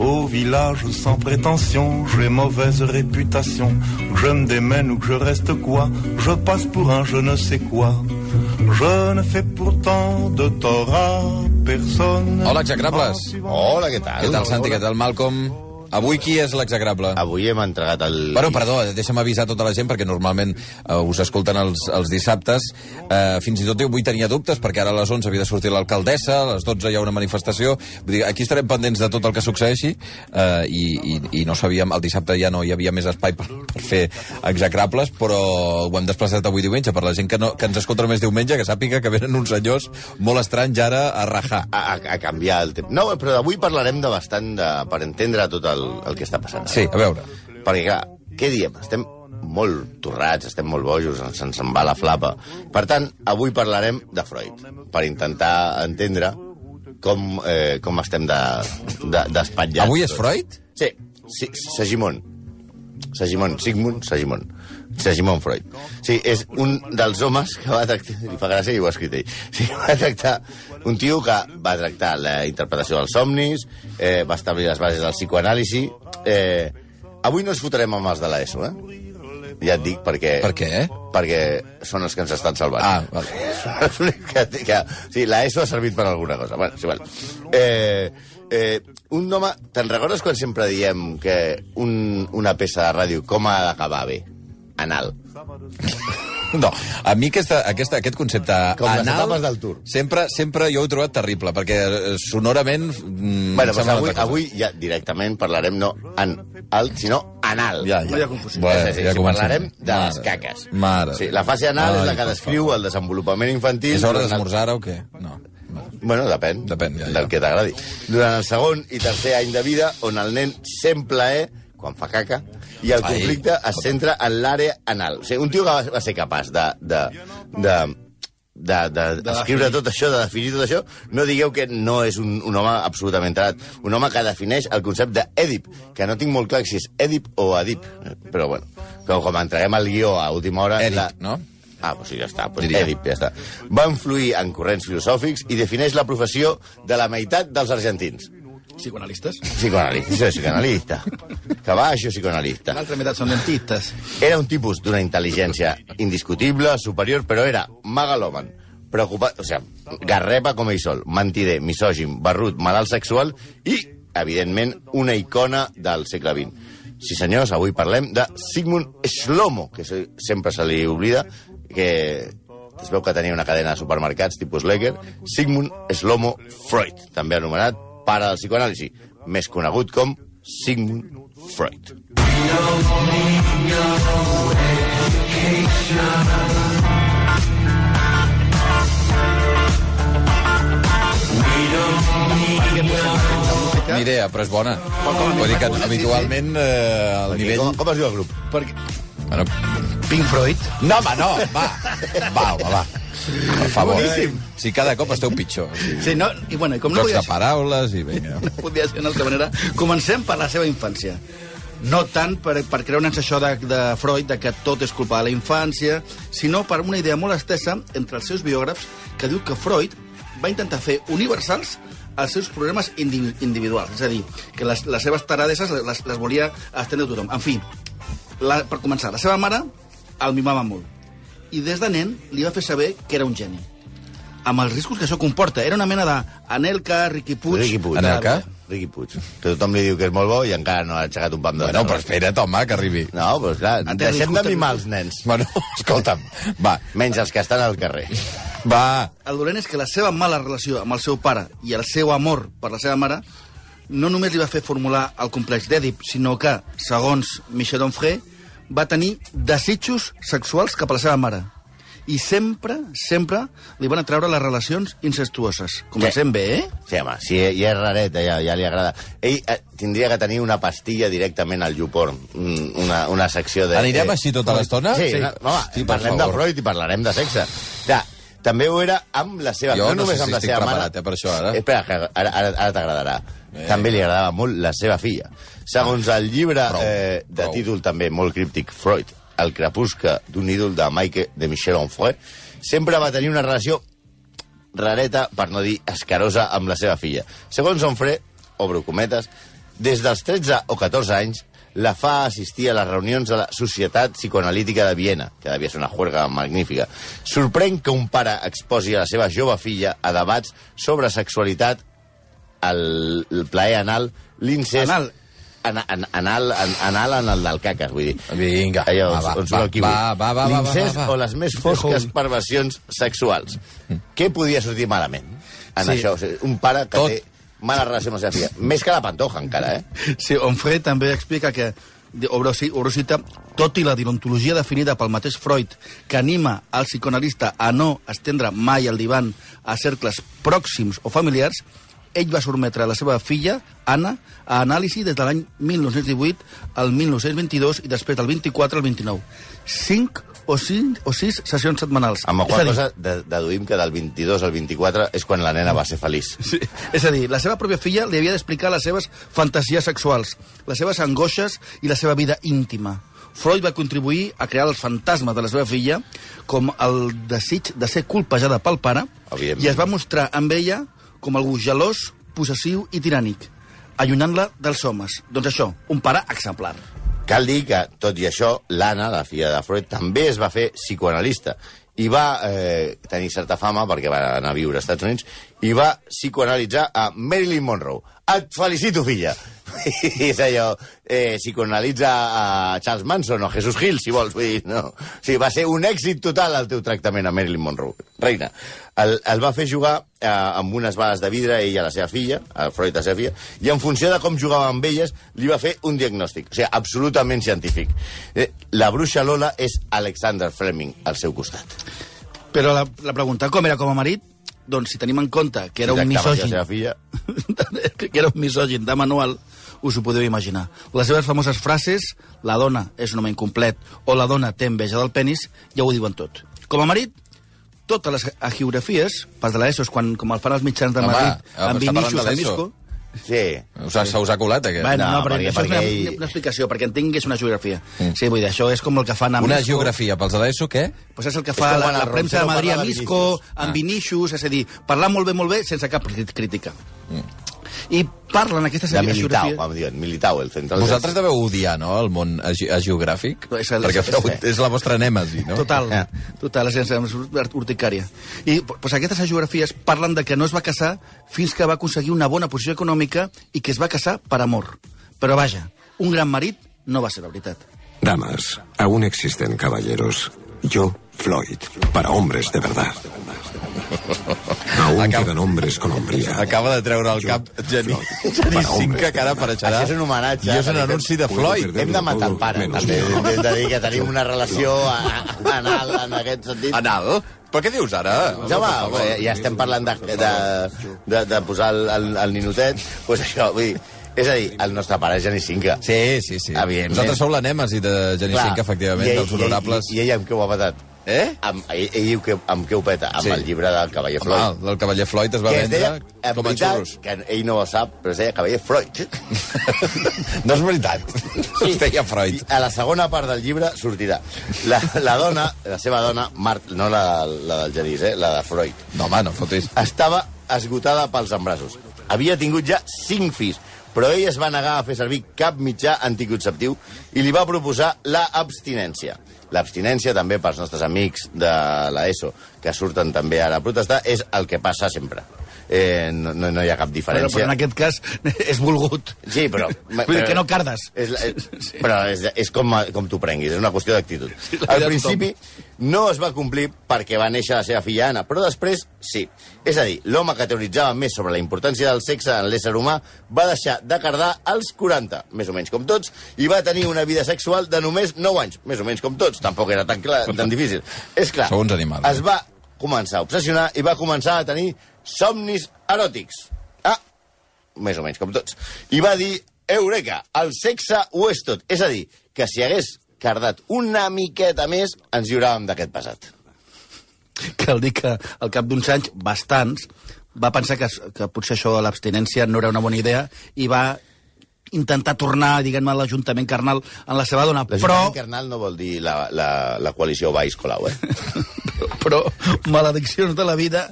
Au village sans prétention, j'ai mauvaise réputation. Que Je me démène ou que je reste quoi Je passe pour un je ne sais quoi. Je ne fais pourtant de tort à personne. Ah, Hola, execrables. Hola, què tal? Què tal, Santi? Què Ah, Hola. tal, Malcolm? Avui qui és l'execrable? Avui hem entregat el... Bueno, perdó, deixa'm avisar tota la gent, perquè normalment eh, us escolten els, els dissabtes. Eh, fins i tot jo avui tenia dubtes, perquè ara a les 11 havia de sortir l'alcaldessa, a les 12 hi ha una manifestació... Vull dir, aquí estarem pendents de tot el que succeeixi, eh, i, i, i no sabíem... El dissabte ja no hi havia més espai per, per fer execrables, però ho hem desplaçat avui diumenge, per la gent que, no, que ens escolta només diumenge, que sàpiga que venen uns senyors molt estranys ara a rajar. A, a, a canviar el temps. No, però avui parlarem de bastant de, per entendre tot el, el que està passant. Sí, a veure. Perquè, clar, què diem? Estem molt torrats, estem molt bojos, ens, ens en va la flapa. Per tant, avui parlarem de Freud, per intentar entendre com, eh, com estem de, de, d'espatllats. Avui és tots. Freud? Sí, sí Sagimon. Sagimon, Sigmund Sagimon. Sagimon Freud. Sí, és un dels homes que va tractar... Li fa gràcia i ho ha escrit ell. Sí, va tractar... Un tio que va tractar la interpretació dels somnis, eh, va establir les bases del psicoanàlisi... Eh, avui no ens fotrem amb els de l'ESO, eh? Ja et dic, perquè... Per què? Perquè són els que ens estan salvant. Ah, vale. que, que, sí, la ESO ha servit per alguna cosa. Bueno, sí, val. Eh, eh, un home... Te'n recordes quan sempre diem que un, una peça de ràdio com ha d'acabar bé? Anal. Mm, No, a mi aquesta, aquesta, aquest concepte Com les anal... etapes del Tour. Sempre, sempre jo ho he trobat terrible, perquè eh, sonorament... Mm, em Bueno, doncs sembla avui, una altra cosa. avui ja directament parlarem no en alt, sinó anal. Ja, ja. Bueno, sí, sí, ja sí, comencem. parlarem de Mare, les caques. mare. Sí, la fase anal Ai, és la que per descriu el desenvolupament infantil... És hora durant el- d'esmorzar ara o què? No. Bueno, depèn. Depèn, ja, ja. Del que t'agradi. Durant el segon i tercer any de vida, on el nen sent plaer quan fa caca, i el Ai. conflicte es centra en l'àrea anal. O sigui, un tio que va, va ser capaç de... de, de de, de, escriure tot això, de definir tot això, no digueu que no és un, un home absolutament tarat. Un home que defineix el concepte d'Èdip, que no tinc molt clar si és Èdip o Adip, però bueno, com, com entreguem al guió a última hora... Èdip, la- no? Ah, doncs sí, ja està. Pues Diria. Èdip, ja està. Va influir en corrents filosòfics i defineix la professió de la meitat dels argentins. psicoanalistes. Psicoanalista, això és psicoanalista. Que va, això és psicoanalista. L'altra meitat són dentistes. Era un tipus d'una intel·ligència indiscutible, superior, però era megaloman, preocupat, o sigui, garrepa com ell sol, mentider, misògin, barrut, malalt sexual i, evidentment, una icona del segle XX. Sí, senyors, avui parlem de Sigmund Shlomo, que se- sempre se li oblida, que es veu que tenia una cadena de supermercats tipus Lecker, Sigmund Shlomo Freud, també anomenat pare del psicoanàlisi, més conegut com Sigmund Freud. Ni idea, però és bona. Vull dir que habitualment eh, el Perquè nivell... Com, com es diu el grup? Perquè Bueno, Pink Freud. no, home, no, va. Va, home, va. Per favor. Boníssim. Si cada cop esteu pitjor. Sí. Sí, no? I, bueno, i com no Jocs podia, de ser, paraules i vinga. no podia ser d'una altra manera, comencem per la seva infància. No tant per, per creure'ns això de, de Freud, de que tot és culpa de la infància, sinó per una idea molt estesa entre els seus biògrafs que diu que Freud va intentar fer universals els seus problemes indivi individuals. És a dir, que les, les seves taradeses les, les volia estendre a tothom. En fi, la, per començar, la seva mare el mimava molt. I des de nen li va fer saber que era un geni. Amb els riscos que això comporta. Era una mena d'Anelka, Riqui Puig... Riqui Puig. Anelka? Riqui Puig. Que tothom li diu que és molt bo i encara no ha aixecat un pam de Bueno, terra. però espera't, home, que arribi. No, però clar, té deixem de discutent. mimar els nens. Bueno, escolta'm, va, Menys els que estan al carrer. va. El dolent és que la seva mala relació amb el seu pare i el seu amor per la seva mare no només li va fer formular el complex d'Èdip, sinó que, segons Michel Onfray, va tenir desitjos sexuals cap a la seva mare. I sempre, sempre li van atreure les relacions incestuoses. Comencem bé, eh? Sí, home, sí, ja és rareta, ja, ja li agrada. Ell eh, tindria que tenir una pastilla directament al Youporn, mm, una, una secció de... Anirem eh, així tota l'estona? Sí, Sí. sí. No, home, Sí, per parlem de favor. Freud i parlarem de sexe. Ja, també ho era amb la seva... Jo no no només sé si amb la estic seva preparat, eh, per això, ara. Espera, que ara, ara, ara t'agradarà. Eh. Ah, També li agradava molt la seva filla. Segons el llibre Prou, eh, de prou. títol també molt críptic, Freud, El crepuscle d'un ídol de Mike de Michel Onfray, sempre va tenir una relació rareta, per no dir escarosa, amb la seva filla. Segons Onfré, obro cometes, des dels 13 o 14 anys la fa assistir a les reunions de la Societat Psicoanalítica de Viena, que devia ser una juerga magnífica. Sorprèn que un pare exposi a la seva jove filla a debats sobre sexualitat, el, el plaer anal, l'incest... Anal. Ana- an- Anal, an- anal, en el del caques, vull dir. Vinga, Allò, va, on- va, on surt va, el kiwi. va, va, va, va, va, L'incest va, va. o les més fosques perversions sexuals. Què podia sortir malament en Sí. això? O sigui, un pare que Tot. té mala relació amb la seva filla. Més que la pantoja, encara, eh? Sí, Onfray també explica que de- obro, ci- obro cita, tot i la dilontologia definida pel mateix Freud, que anima al psicoanalista a no estendre mai el divan a cercles pròxims o familiars, ell va sotmetre la seva filla, Anna, a anàlisi des de l'any 1918 al 1922 i després del 24 al 29. 5 o 5 o 6 sessions setmanals. Amb la És a qual dir, cosa de, deduïm que del 22 al 24 és quan la nena va ser feliç. Sí. És a dir, la seva pròpia filla li havia d'explicar les seves fantasies sexuals, les seves angoixes i la seva vida íntima. Freud va contribuir a crear els fantasmes de la seva filla com el desig de ser colpejada pel pare Evidentment. i es va mostrar amb ella com algú gelós, possessiu i tirànic, allunyant-la dels homes. Doncs això, un pare exemplar. Cal dir que, tot i això, l'Anna, la filla de Freud, també es va fer psicoanalista i va eh, tenir certa fama perquè va anar a viure als Estats Units i va psicoanalitzar a Marilyn Monroe. Et felicito, filla! I és allò, eh, psicoanalitza a Charles Manson o Jesús Gil, si vols. Vull dir, no. O sigui, va ser un èxit total el teu tractament a Marilyn Monroe. Reina, el, el va fer jugar eh, amb unes bales de vidre ell a la seva filla, a Freud a la seva filla, i en funció de com jugava amb elles, li va fer un diagnòstic. O sigui, absolutament científic. Eh, la bruixa Lola és Alexander Fleming al seu costat. Però la, la pregunta com era com a marit, doncs si tenim en compte que era I un tractava així misògin... La seva filla. que era un misògin de manual, us ho podeu imaginar. Les seves famoses frases, la dona és un home incomplet o la dona té enveja del penis, ja ho diuen tot. Com a marit, totes les geografies, pas de l'ESO, és quan, com el fan els mitjans de Home, ah, Madrid, però amb està parlant de Vinicius a l'ESO. Misco... Sí. Us ha, se us ha colat, aquest. Bueno, No, no, però perquè- això és perquè una, ell- una, una explicació, perquè entenguis una geografia. Mm. Sí, vull dir, això és com el que fan a Una Misco. geografia pels de l'ESO, què? Pues és el que És fa com la, quan la el premsa de Roncero Madrid parla amb de Isco, amb Vinicius, és a dir, parlar molt bé, molt bé, sense cap crit- crítica. I parlen aquestes De Militao, geografies... com diuen, Militao, el central. Vosaltres deveu odiar, no?, el món age- geogràfic. No, és el- Perquè és- feu, és la vostra anèmesi, no? Total, Eh. total, és, és, és urticària. I pues, aquestes geografies parlen de que no es va casar fins que va aconseguir una bona posició econòmica i que es va casar per amor. Però vaja, un gran marit no va ser, la veritat. Damas, aún existen caballeros. Yo, Floyd, para hombres de verdad. Aún Acab- quedan hombres con hombría. Acaba de treure al cap Geni. Geníssim que cara per Això és un homenatge. I és un anunci de Puedo Floyd. perder- Hem de matar el pare, Menys també. mal. Hem de dir que tenim una relació a- a- anal en aquest sentit. Anal? Però què dius ara? Ja va, ja, ja estem parlant de, de, de, de posar el, el, el ninotet. Doncs pues això, vull dir, és a dir, el nostre pare és Geni Cinca. Sí, sí, sí. Evidentment. Vosaltres sou l'anèmesi de Geni Clar. Cinca, efectivament, I ell- dels honorables. I, ell- i, ell amb què ho ha petat? Eh? Amb, ell, ell amb què, amb què ho peta? Amb Sí. el llibre del Cavaller Home, Floyd. el del cavaller Floyd es va que es vendre deia, en com a veritat, xurros. que ell no ho sap, però es deia Cavaller Freud. no és veritat. Es deia Freud. I a la segona part del llibre sortirà. La, la dona, la seva dona, Mart, no la, la del Genís, eh? la de Freud, No, home, no fotis. estava esgotada pels embrassos. Havia tingut ja cinc fills, però ell es va negar a fer servir cap mitjà anticonceptiu i li va proposar la abstinència. L'abstinència, també pels nostres amics de l'ESO, que surten també ara a protestar, és el que passa sempre. Eh, no, no, no hi ha cap Però, diferència. però en aquest cas és volgut. Sí, però... Vull dir que no cardes. És, la- és, però és, és com, com t'ho prenguis, és una qüestió d'actitud. la vida Al de principi no es va complir perquè va néixer la seva filla Anna, però després sí. És a dir, l'home que teoritzava més sobre la importància del sexe en l'ésser humà va deixar de cardar als 40, més o menys com tots, i va tenir una vida sexual de només 9 anys, més o menys com tots, tampoc era tan, clar, tan difícil. És clar, Segons animals. eh? es va començar a obsessionar i va començar a tenir somnis eròtics. Ah, més o menys com tots, i va dir, eureka, el sexe ho és tot. És a dir, que si hagués cardat una miqueta més, ens lliuràvem d'aquest passat. Cal dir que al cap d'uns anys, bastants, va pensar que, que potser això de l'abstinència no era una bona idea i va intentar tornar, diguem-ne, a l'Ajuntament Carnal en la seva dona, però... L'Ajuntament Carnal no vol dir la, la, la coalició Baix Colau, eh? però malediccions de la vida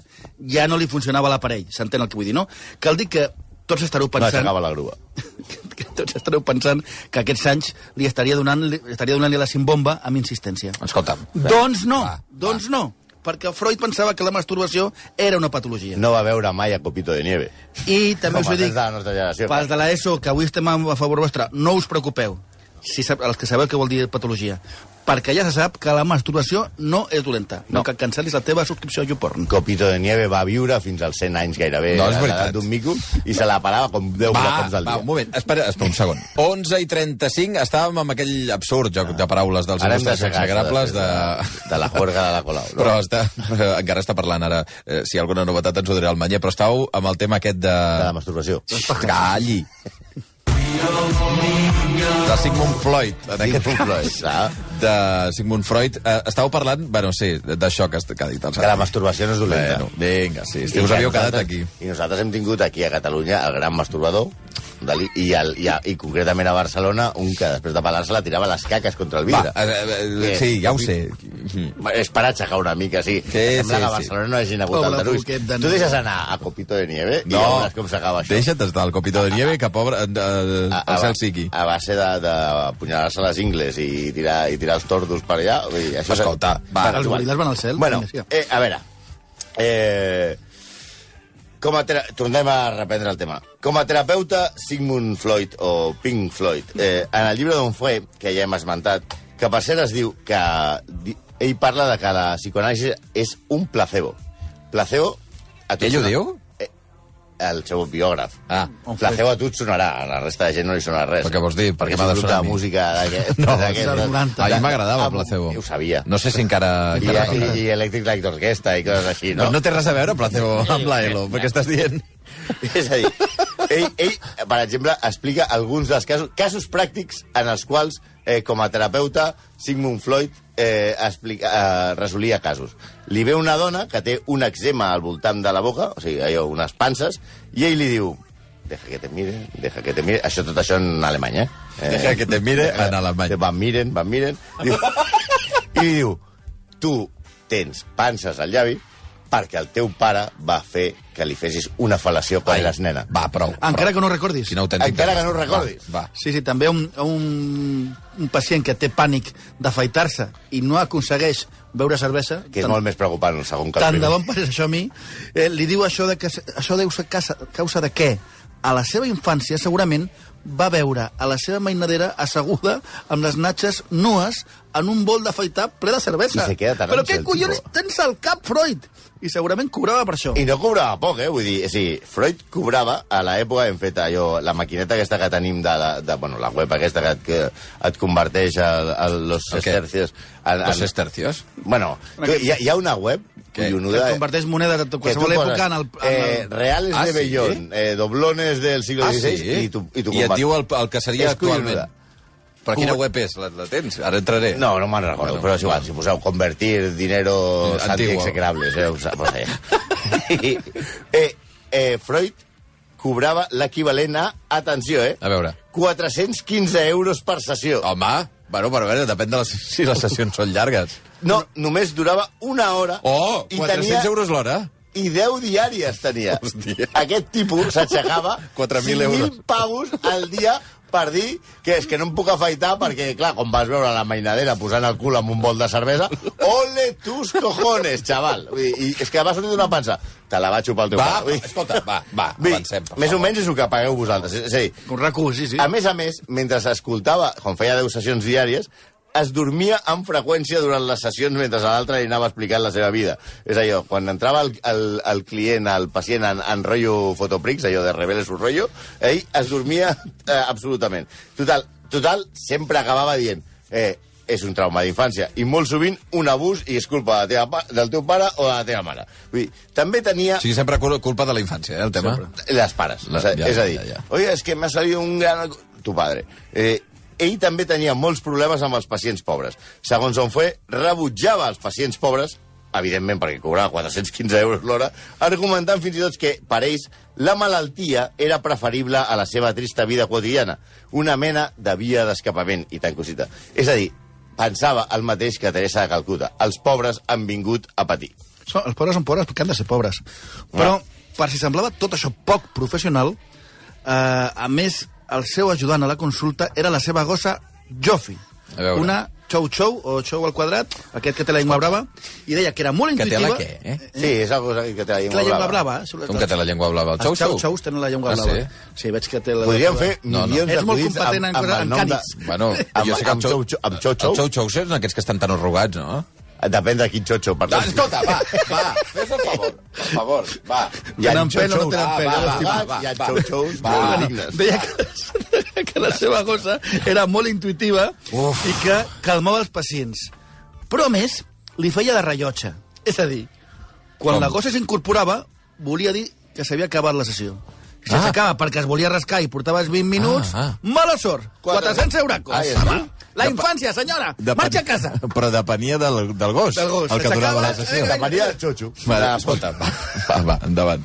ja no li funcionava l'aparell, s'entén el que vull dir, no? Cal dir que tots estareu No, pensant... s'acaba la grua. que tots estareu pensant que aquests anys li estaria donant li, estaria donant la simbomba amb insistència. Escolta'm. Doncs no, Ah, Va, doncs no, perquè Freud pensava que la masturbació era una patologia. No va veure mai a Copito de Nieve. I també us Home, ho des dic, de la nostra generació. pels de l'ESO, que avui estem a favor vostre, no us preocupeu, si sab, els que sabeu què vol dir patologia, perquè ja se sap que la masturbació no és dolenta, no, No. no que cancelis la teva subscripció a YouPorn. Copito de Nieve va viure fins als 100 anys gairebé No, és a l'edat veritat. d'un mico i se la parava com 10 cops Va, va, al dia. un moment, espera, espera un segon. 11 i 35, estàvem amb aquell absurd joc de paraules dels Ah. Ara hem il·lustres d'aixecar-se consagrables de... després de- de la juerga de la Colau, no? Però està, encara està parlant ara, eh, si hi ha alguna novetat ens ho dirà el Manyer, però estàveu amb el tema aquest de... De la masturbació. Xxt, Calli! De Sigmund Floyd, en aquest Sigmund Freud, cas. clar. De Sigmund Freud. Eh, estàveu parlant, bueno, sí, d'això que, has- que ha dit el Que la Santi. masturbació no és dolenta. Bueno, vinga, sí, I sí, us que havíeu quedat aquí. nosaltres- I nosaltres hem tingut aquí a Catalunya el gran masturbador Dalí, i, el, i, a, i concretament a Barcelona un que després de pelar-se la tirava les caques contra el Va, vidre. eh, eh, Eh, sí, ja ho Covid. sé. és per aixecar una mica, sí. Sembla sí, que a sí. Barcelona no hagin hagut Pobre aldarulls. Boquet de Tu Neu. deixes anar a Copito de Nieve i ja veuràs com s'acaba això. Ah, Deixa't estar el copito de nieve que pobre... Eh, eh, el cel sigui. A base de, de apunyalar-se les ingles i tirar, i tirar els tordos per allà... vull dir, Això és- Escolta, va. per Els actuar. goril·les van al cel? Bueno, Vinga, sí. eh, a veure... Eh, com a tera... Tornem a reprendre el tema. Com a terapeuta, Sigmund Floyd, o Pink Floyd, eh, en el llibre d'on fue, que ja hem esmentat, que per cert es diu que... di- Ell parla de que la psicoanàlisi és un placebo. Placebo... a tots Ell ho una- diu? Eh, el seu biògraf. Ah. Un placebo a tu et sonarà, a la resta de gent no li sonarà res. Però què vols dir? Per Perquè què m'ha de és un grup sonar a mi? de música d'aquest... No, d'aquest- dels 90. A mi m'agradava Ah, el placebo. Ho sabia. No sé si encara... I, encara i, toca. i Electric Light Orchestra i coses així, no? Doncs no té res a veure placebo amb l'Aelo, perquè estàs dient... És a dir, ell, ell, per exemple, explica alguns dels casos, casos pràctics en els quals, eh, com a terapeuta, Sigmund Freud eh, explica, eh, resolia casos. Li ve una dona que té un eczema al voltant de la boca, o sigui, allò, unes panses, i ell li diu, deja que te mire, deja que te mire... Això, tot això en alemany, eh? eh Deja que te mire en alemany. Van miren, van miren... Diu, I li diu, tu tens panses al llavi perquè el teu pare va fer que li fessis una fel·lació quan eres nena. Va, prou. Encara prou. que no ho recordis. Quin autèntic Encara que no ho desastre. recordis. Va, va. Sí, sí, també un, un, un pacient que té pànic d'afaitar-se i no aconsegueix beure cervesa... Que és tant- molt més preocupant el segon que el Tant de primer. bon passés això a mi, eh, li diu això de que això deu ser causa, causa de què? A la seva infància, segurament, va veure a la seva mainadera asseguda amb les natxes nues en un bol d'afaitar ple de cervesa. I se queda taronja, Però què el collons tipo. tens al cap, Freud? I segurament cobrava per això. I no cobrava poc, eh? Vull dir, o sigui, Freud cobrava, a l'època hem fet allò, la maquineta aquesta que tenim de, la, de bueno, la web aquesta que, et- que et converteix al- a los El què? sestercios. al- al- Dos estercios. Bueno, tu, hi, ha, hi ha una web, Què? Que collonuda, eh? converteix monedes de qualsevol tu època en el... En el... eh, reales Ah, de sí? Bellón, eh, doblones del siglo Ah, XVI, sí? i tu, i tu I et converteix. diu el, el que seria És actualment. collonuda. Però quina web és? La, la tens? Ara entraré. No, no me'n recordo, però és igual, si poseu convertir dinero Antiguo. antiexecrables, eh, us, pues, eh. eh, eh, Freud cobrava l'equivalent a, atenció, eh, A veure. 415 euros per sessió. Home, bueno, però a veure, depèn de les, si les sessions són llargues. No, només durava una hora. Oh, i 400 tenia- euros l'hora? i 10 diàries tenia. Hòstia. Aquest tipus s'aixecava 4.000 euros. 5.000 pavos al dia per dir que és que no em puc afaitar perquè, clar, com vas veure la mainadera posant el cul amb un bol de cervesa, ole tus cojones, xaval. Vull dir, I és que va sortir d'una pansa. Te la va xupar el teu Va, pare. Vull dir- escolta, va, va, Vull dir, avancem, per Més o favor. menys és el que pagueu vosaltres. És a dir, Un recu, sí, sí. a més a més, mentre s'escoltava, com feia 10 sessions diàries, es dormia amb freqüència durant les sessions mentre a l'altre li anava explicant la seva vida. És allò, quan entrava el, el, el client, el pacient en, en rotllo fotoprix, allò de revele su rotllo, ell es dormia eh, absolutament. Total, total, sempre acabava dient... Eh, és un trauma d'infància i molt sovint un abús i és culpa de la teva, pa- del teu pare o de la teva mare. Vull dir, també tenia... O sigui, sempre cul- culpa de la infància, eh, el tema. Les pares. La- o sea, ja, és a dir, ja, ja. oye, és que m'ha salit un gran... Tu padre. Eh, ell també tenia molts problemes amb els pacients pobres. Segons on fue, rebutjava els pacients pobres evidentment perquè cobrava 415 euros l'hora, argumentant fins i tot que, per ells, la malaltia era preferible a la seva trista vida quotidiana, una mena de via d'escapament i tant cosita. És a dir, pensava el mateix que Teresa de Calcuta. Els pobres han vingut a patir. Són, els pobres són pobres perquè han de ser pobres. Però, per si semblava tot això poc professional, eh, a més, el seu ajudant a la consulta era la seva gossa Jofi. A veure. Una xou-xou, o xou al quadrat, aquest que té la llengua brava, i deia que era molt Que té la intuïtiva... què, eh? Sí, és una cosa que té la Que llengua, la llengua blava, eh? Com que té la llengua blava? El Els xou-xou? xou-xous tenen la llengua Ah, blava. sí? Sí, veig que té la Podríem blava. fer No, no. milions És de molt acudits competent en cosa- en nom de- cànids. Bueno, amb, jo sé que amb, xou, xou, amb xou, xou, El xou-xou són aquests que estan tan arrugats, no? Depèn de quin xotxo parlem. Ah, escolta, va, va, fes el favor, per favor, va. Tenen pena o no tenen pena, Ah, Va, els va, tipus? va, hi ha xou-xous Va. molt Bueno, dignes. Deia que, que la seva gossa era molt intuïtiva Uf. i que calmava els pacients. Però, a més, li feia de rellotge. És a dir, quan Com? la gossa s'incorporava, volia dir que s'havia acabat la sessió. Si Ah. s'acaba perquè es volia rascar i portaves 20 minuts, Ah, ah. mala sort, Quatre- 400 euracos. Ah, ja està. la infància, senyora, marxa a casa. Però depenia del, del gos, Del gos. el que S'acaba- durava la sessió. eh, Maria del xotxo. Va, escolta, va, va, va endavant.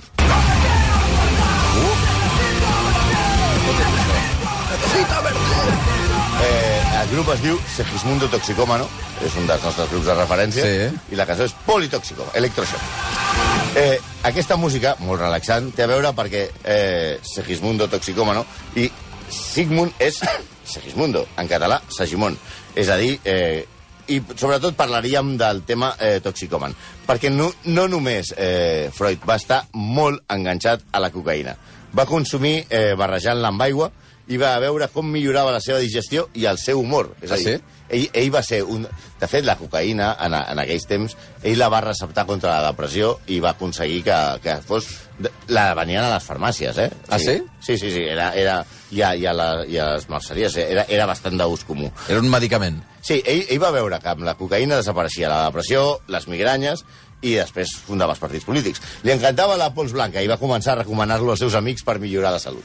Eh, el grup es diu Segismundo Toxicómano, és un dels nostres grups de referència, Sí. i la cançó és Politoxicó, Electroshock. Eh, aquesta música, molt relaxant, té a veure perquè eh, Segismundo Toxicómano i Sigmund és Segismundo, en català Sagimon. És a dir, eh, i sobretot parlaríem del tema eh, toxicòman, perquè no, no només eh, Freud va estar molt enganxat a la cocaïna. Va consumir eh, barrejant-la amb aigua i va veure com millorava la seva digestió i el seu humor. És a Ah, dir, sí? ell, ell va ser un... De fet, la cocaïna, en, a- en aquells temps, ell la va receptar contra la depressió i va aconseguir que, que fos... de- La venien a les farmàcies, eh? Ah, sí? Sí, sí, sí. Era, era, i, a, i, a la, I a les merceries. eh, Era, era bastant d'ús comú. Era un medicament. Sí, ell, ell va veure que amb la cocaïna desapareixia la depressió, les migranyes i després fundava els partits polítics. Li encantava la pols blanca i va començar a recomanar-lo als seus amics per millorar la salut.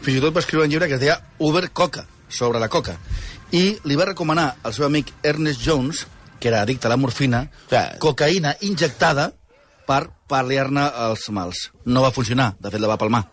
Fins i tot va escriure un llibre que es deia Uber Coca, sobre la coca. I li va recomanar al seu amic Ernest Jones, que era addicte a la morfina, Clar. cocaïna injectada per pal·liar-ne els mals. No va funcionar, de fet la va palmar.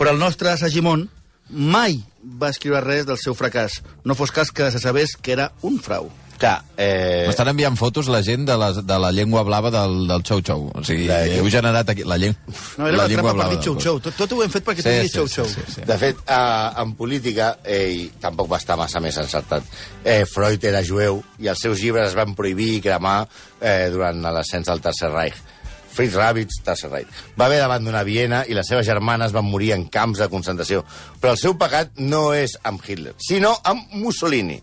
Però el nostre Sagimon mai va escriure res del seu fracàs. No fos cas que se sabés que era un frau. Clar, eh... M'estan enviant fotos la gent de la, de la llengua blava del, del xou-xou. O sigui, La- heu generat aquí... La, lleng... No, era la, la trampa per blava dir del xou-xou. Tot, tot ho hem fet perquè sí, tu diguis xou-xou. De fet, eh, en política, ell tampoc va estar massa més encertat. Eh, Freud era jueu i els seus llibres es van prohibir i cremar eh, durant l'ascens del Tercer Reich. Fritz Rabitz, Tercer Reich. Va haver d'abandonar Viena i les seves germanes van morir en camps de concentració. Però el seu pecat no és amb Hitler, sinó amb Mussolini.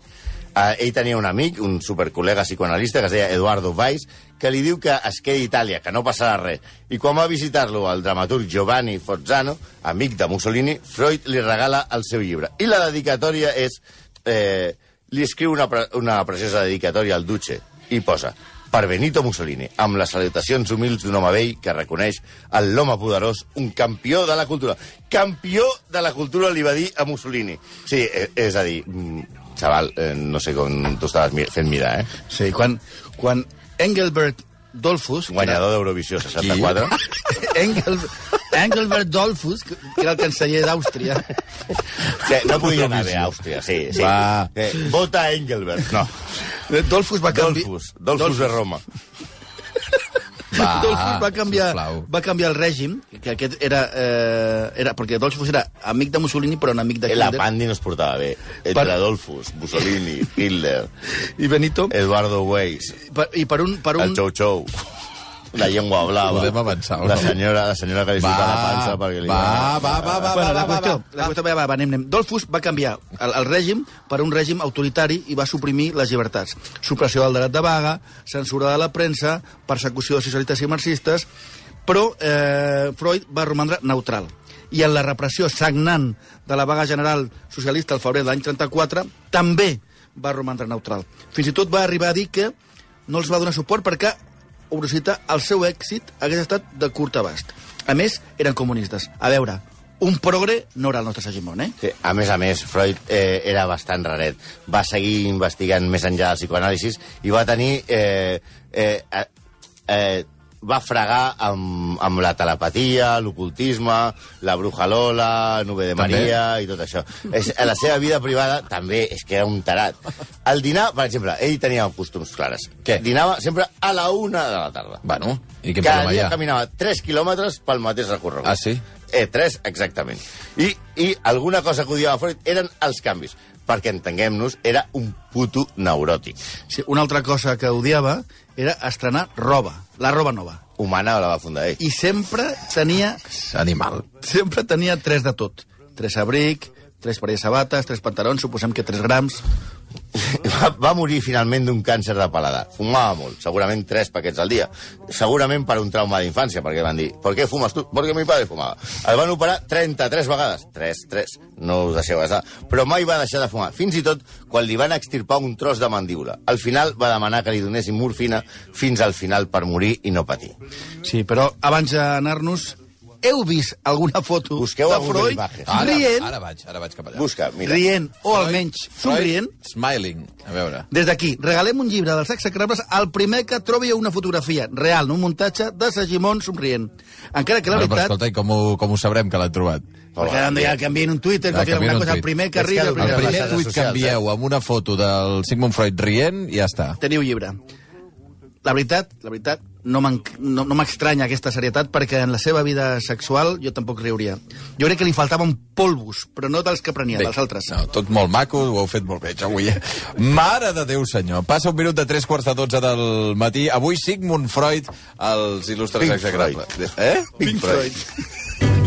Eh, ell tenia un amic, un supercol·lega psicoanalista, que es deia Eduardo Valls, que li diu que es quedi a Itàlia, que no passarà res. I quan va visitar-lo el dramaturg Giovanni Forzano, amic de Mussolini, Freud li regala el seu llibre. I la dedicatòria és... Eh, li escriu una, pre una preciosa dedicatòria al Duce i posa per Benito Mussolini, amb les salutacions humils d'un home vell que reconeix en l'home poderós un campió de la cultura. Campió de la cultura li va dir a Mussolini. Sí, eh, és a dir, mm, Chaval, eh, no sé com tu estaves mi- fent mirar, eh? Sí, quan, quan Engelbert Dollfuss... que era- Guanyador d'Eurovisió 64. Engel, Engelbert Dollfuss, que que era el canceller d'Àustria. Sí, no podia anar bé a Àustria, sí. sí. Va. Eh, vota Engelbert. No, Dollfuss va canviar... Dolfus. Dolfus de Roma. Va, Dollfuss va canviar, sisplau. va canviar el règim, que aquest era... Eh, era perquè Dollfuss era amic de Mussolini, però enemic de Eh, La Hitler. Pandi no es portava bé. Entre Per- Dolfus, Mussolini, Hitler, I Benito, Eduardo Weiss, per, i per un... Per el un Chou Chou, la llengua blava. Podem avançar, o La no? senyora, la senyora que li Va, suca la pansa perquè li... va, va, va, va, bueno, va, la va, qüestió, va. la qüestió, va, va, va, anem, anem. Dollfuss va canviar el, el règim per un règim autoritari i va suprimir les llibertats. Supressió del dret de vaga, censura de la premsa, persecució de socialistes i marxistes, però eh, Freud va romandre neutral. I en la repressió sagnant de la vaga general socialista al febrer de l'any 34, també va romandre neutral. Fins i tot va arribar a dir que no els va donar suport perquè Obrosita, el seu èxit hagués estat de curt abast. A més, eren comunistes. A veure, un progre no era el nostre Sagimon, eh? Sí, a més a més, Freud eh, era bastant raret. Va seguir investigant més enllà del psicoanàlisis i va tenir... Eh, eh, a- eh, va fregar amb, amb la telepatia, l'ocultisme, la bruja Lola, Nube de També. Maria i tot això. És, a la seva vida privada també és que era un tarat. El dinar, per exemple, ell tenia costums clares. Què? Dinava sempre a la una de la tarda. Bueno, i quin Cada problema hi dia ha? caminava 3 quilòmetres pel mateix recorregut. Ah, sí? Eh, 3, exactament. I, I alguna cosa que odiava Freud eren els canvis. Perquè, entenguem-nos, era un puto neuròtic. Sí, una altra cosa que odiava era estrenar roba, la roba nova. Humana la va fundar ell. I sempre tenia, Animal. sempre tenia tres de tot. Tres abric, tres parelles de sabates, tres pantalons, suposem que tres grams. va, va morir finalment d'un càncer de paladar. Fumava molt, segurament tres paquets al dia. Segurament per un trauma d'infància, perquè van dir, per què fumes tu? Perquè mi pare fumava. El van operar 33 vegades. 3, 3, no us deixeu gastar. Però mai va deixar de fumar, fins i tot quan li van extirpar un tros de mandíbula. Al final va demanar que li donessin morfina fins al final per morir i no patir. Sí, però abans d'anar-nos, heu vist alguna foto Busqueu de alguna Freud imatge. Ara, rient, ara vaig, ara vaig cap allà. Busca, mira. rient, o almenys somrient, Freud, Smiling, a veure. Des d'aquí, regalem un llibre dels execrables al primer que trobi una fotografia real, un muntatge de Sagimon somrient. Encara que la Però, però veritat... escolta, i com ho, com ho sabrem que l'han trobat? perquè han de ja canviar un Twitter, Ah, que canvien alguna un cosa, el tuit. primer que És que arriba... el El El Mira, primer... les primer xarxes tuit que socials, envieu amb una foto del Sigmund Freud rient, ja està. Teniu llibre. La veritat, la veritat, no m'en- no, no m'estranya aquesta serietat, perquè en la seva vida sexual jo tampoc riuria. Jo crec que li faltaven polvos, però no dels que prenia, dels altres. No, tot molt maco, ho heu fet molt bé, avui. Mare de Déu, senyor. Passa un minut de tres quarts de dotze del matí. Avui Sigmund Freud, els il·lustres Pink execrables. Freud. Eh? Pink Freud.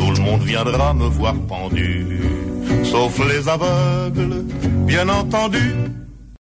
Tout le monde viendra me voir pendu, sauf les aveugles, bien entendu.